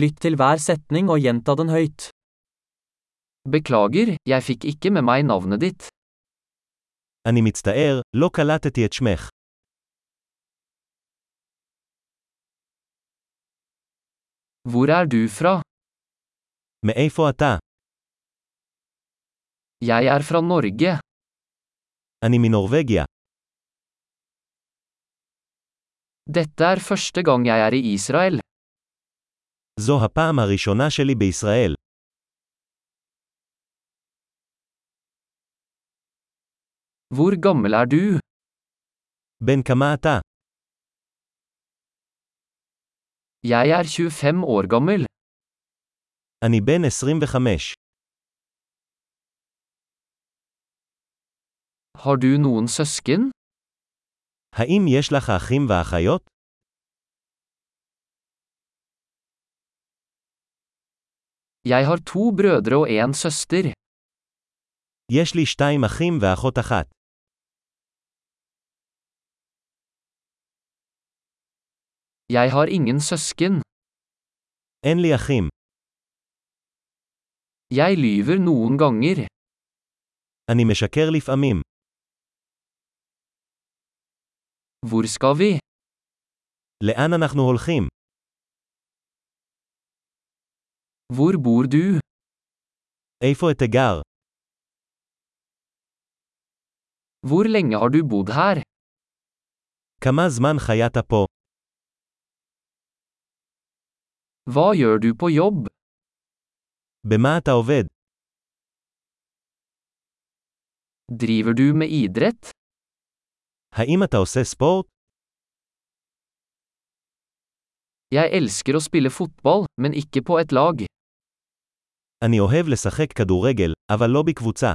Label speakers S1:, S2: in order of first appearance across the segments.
S1: Lytt til hver setning og gjenta den høyt. Beklager, jeg fikk ikke med meg navnet ditt.
S2: אני מצטער, לא קלטתי את שמך.
S1: Hvor er du fra?
S2: מאיפה אתה?
S1: Jeg er fra Norge.
S2: אני מנורבגיה.
S1: Dette er første gang jeg er i Israel.
S2: זו הפעם הראשונה שלי בישראל.
S1: Hvor gammel er du?
S2: בן כמה אתה?
S1: Jeg er 25 år gammel.
S2: אני בן 25.
S1: Har du noen søsken?
S2: האם יש לך אחים ואחיות?
S1: Jeg har to brødre og en søster.
S2: יש לי שתיים אחים ואחות אחת.
S1: Jeg har ingen søsken.
S2: אין לי אחים.
S1: Jeg lyver noen ganger.
S2: אני משקר לפעמים.
S1: Hvor skal vi?
S2: לאן אנחנו הולכים?
S1: Hvor bor du?
S2: איפה את הגר?
S1: Hvor lenge har du bodd her?
S2: כמה זמן חיית פה?
S1: Hva gjør du på jobb?
S2: במה אתה עובד?
S1: Driver du med idrett?
S2: האם אתה עושה ספורט?
S1: Jeg elsker å spille fotball, men ikke på et lag.
S2: אני אוהב לשחק כדורגל, אבל לא בקבוצה.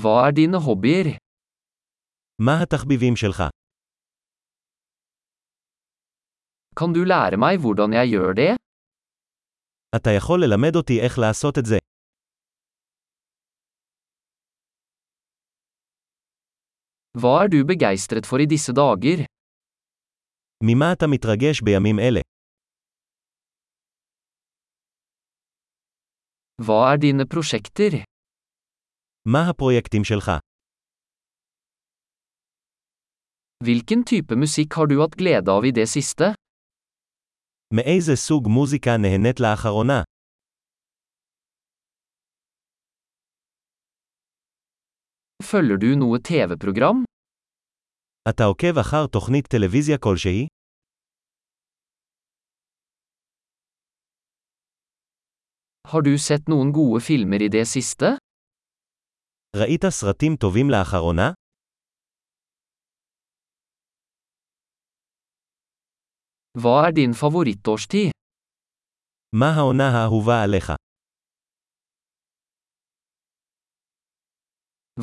S1: Hva er dine hobbyer?
S2: מה התחביבים שלך?
S1: Kan du lære meg hvordan jeg gjør det?
S2: אתה יכול ללמד אותי איך לעשות את זה.
S1: Hva er du begeistret for i disse dager?
S2: ממה אתה מתרגש בימים אלה?
S1: Hva er dine prosjekter?
S2: מה הפרויקטים שלך?
S1: Hvilken type musikk har du hatt glede av i det siste?
S2: מאיזה סוג מוזיקה נהנית לאחרונה?
S1: Følger du noe TV-program?
S2: אתה עוקב אחר תוכנית טלוויזיה כלשהי?
S1: Har du sett noen gode filmer i det siste?
S2: ראית סרטים טובים לאחרונה?
S1: Hva er din favorittårstid?
S2: מה העונה האהובה עליך?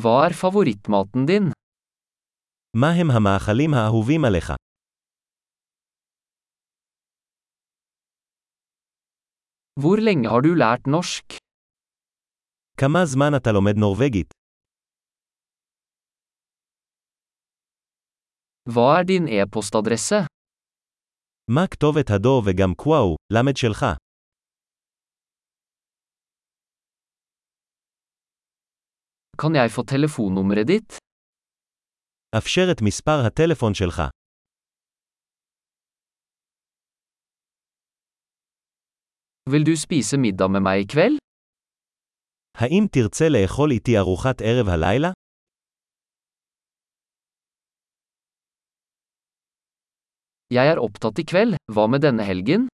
S1: Hva er favorittmaten din?
S2: מה הם המאכלים האהובים עליך?
S1: Hvor lenge har du lært norsk?
S2: כמה זמן אתה לומד נורבגית?
S1: Hva er din e-postadresse?
S2: מה כתובת הדו וגם קוואו, למד שלך?
S1: Kan jeg få telefonnummeret ditt?
S2: אפשר את מספר הטלפון שלך.
S1: Vil du spise middag med meg i kveld?
S2: האם תרצה לאכול איתי ארוחת ערב הלילה?
S1: Jeg er opptatt i kveld, hva med denne helgen?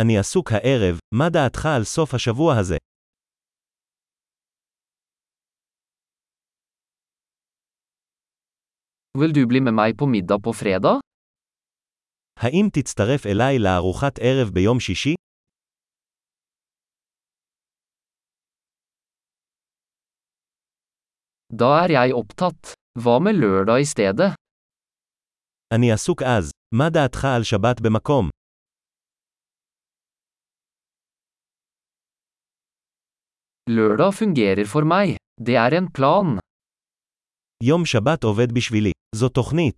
S2: אני עסוק הערב, מה דעתך על סוף השבוע הזה?
S1: Vil du bli med meg på middag på fredag?
S2: האם תצטרף אליי לארוחת ערב ביום שישי?
S1: Da er jeg opptatt. Hva med lørdag i stedet?
S2: אני עסוק אז, מה דעתך על שבת במקום?
S1: Lørdag fungerer for meg. Det er en plan.
S2: יום שבת עובד בשבילי, זו תוכנית.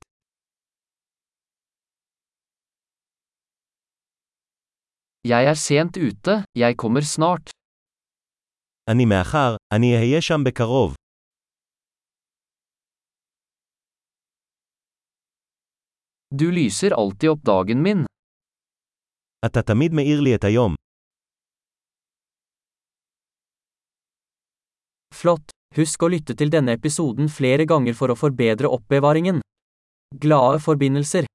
S1: Jeg er sent ute, jeg kommer snart.
S2: אני מאחר, אני אהיה שם בקרוב.
S1: Du lyser alltid opp dagen min.
S2: אתה תמיד מאיר לי את היום.
S3: Flott! Husk å lytte til denne episoden flere ganger for å forbedre oppbevaringen. Glade forbindelser!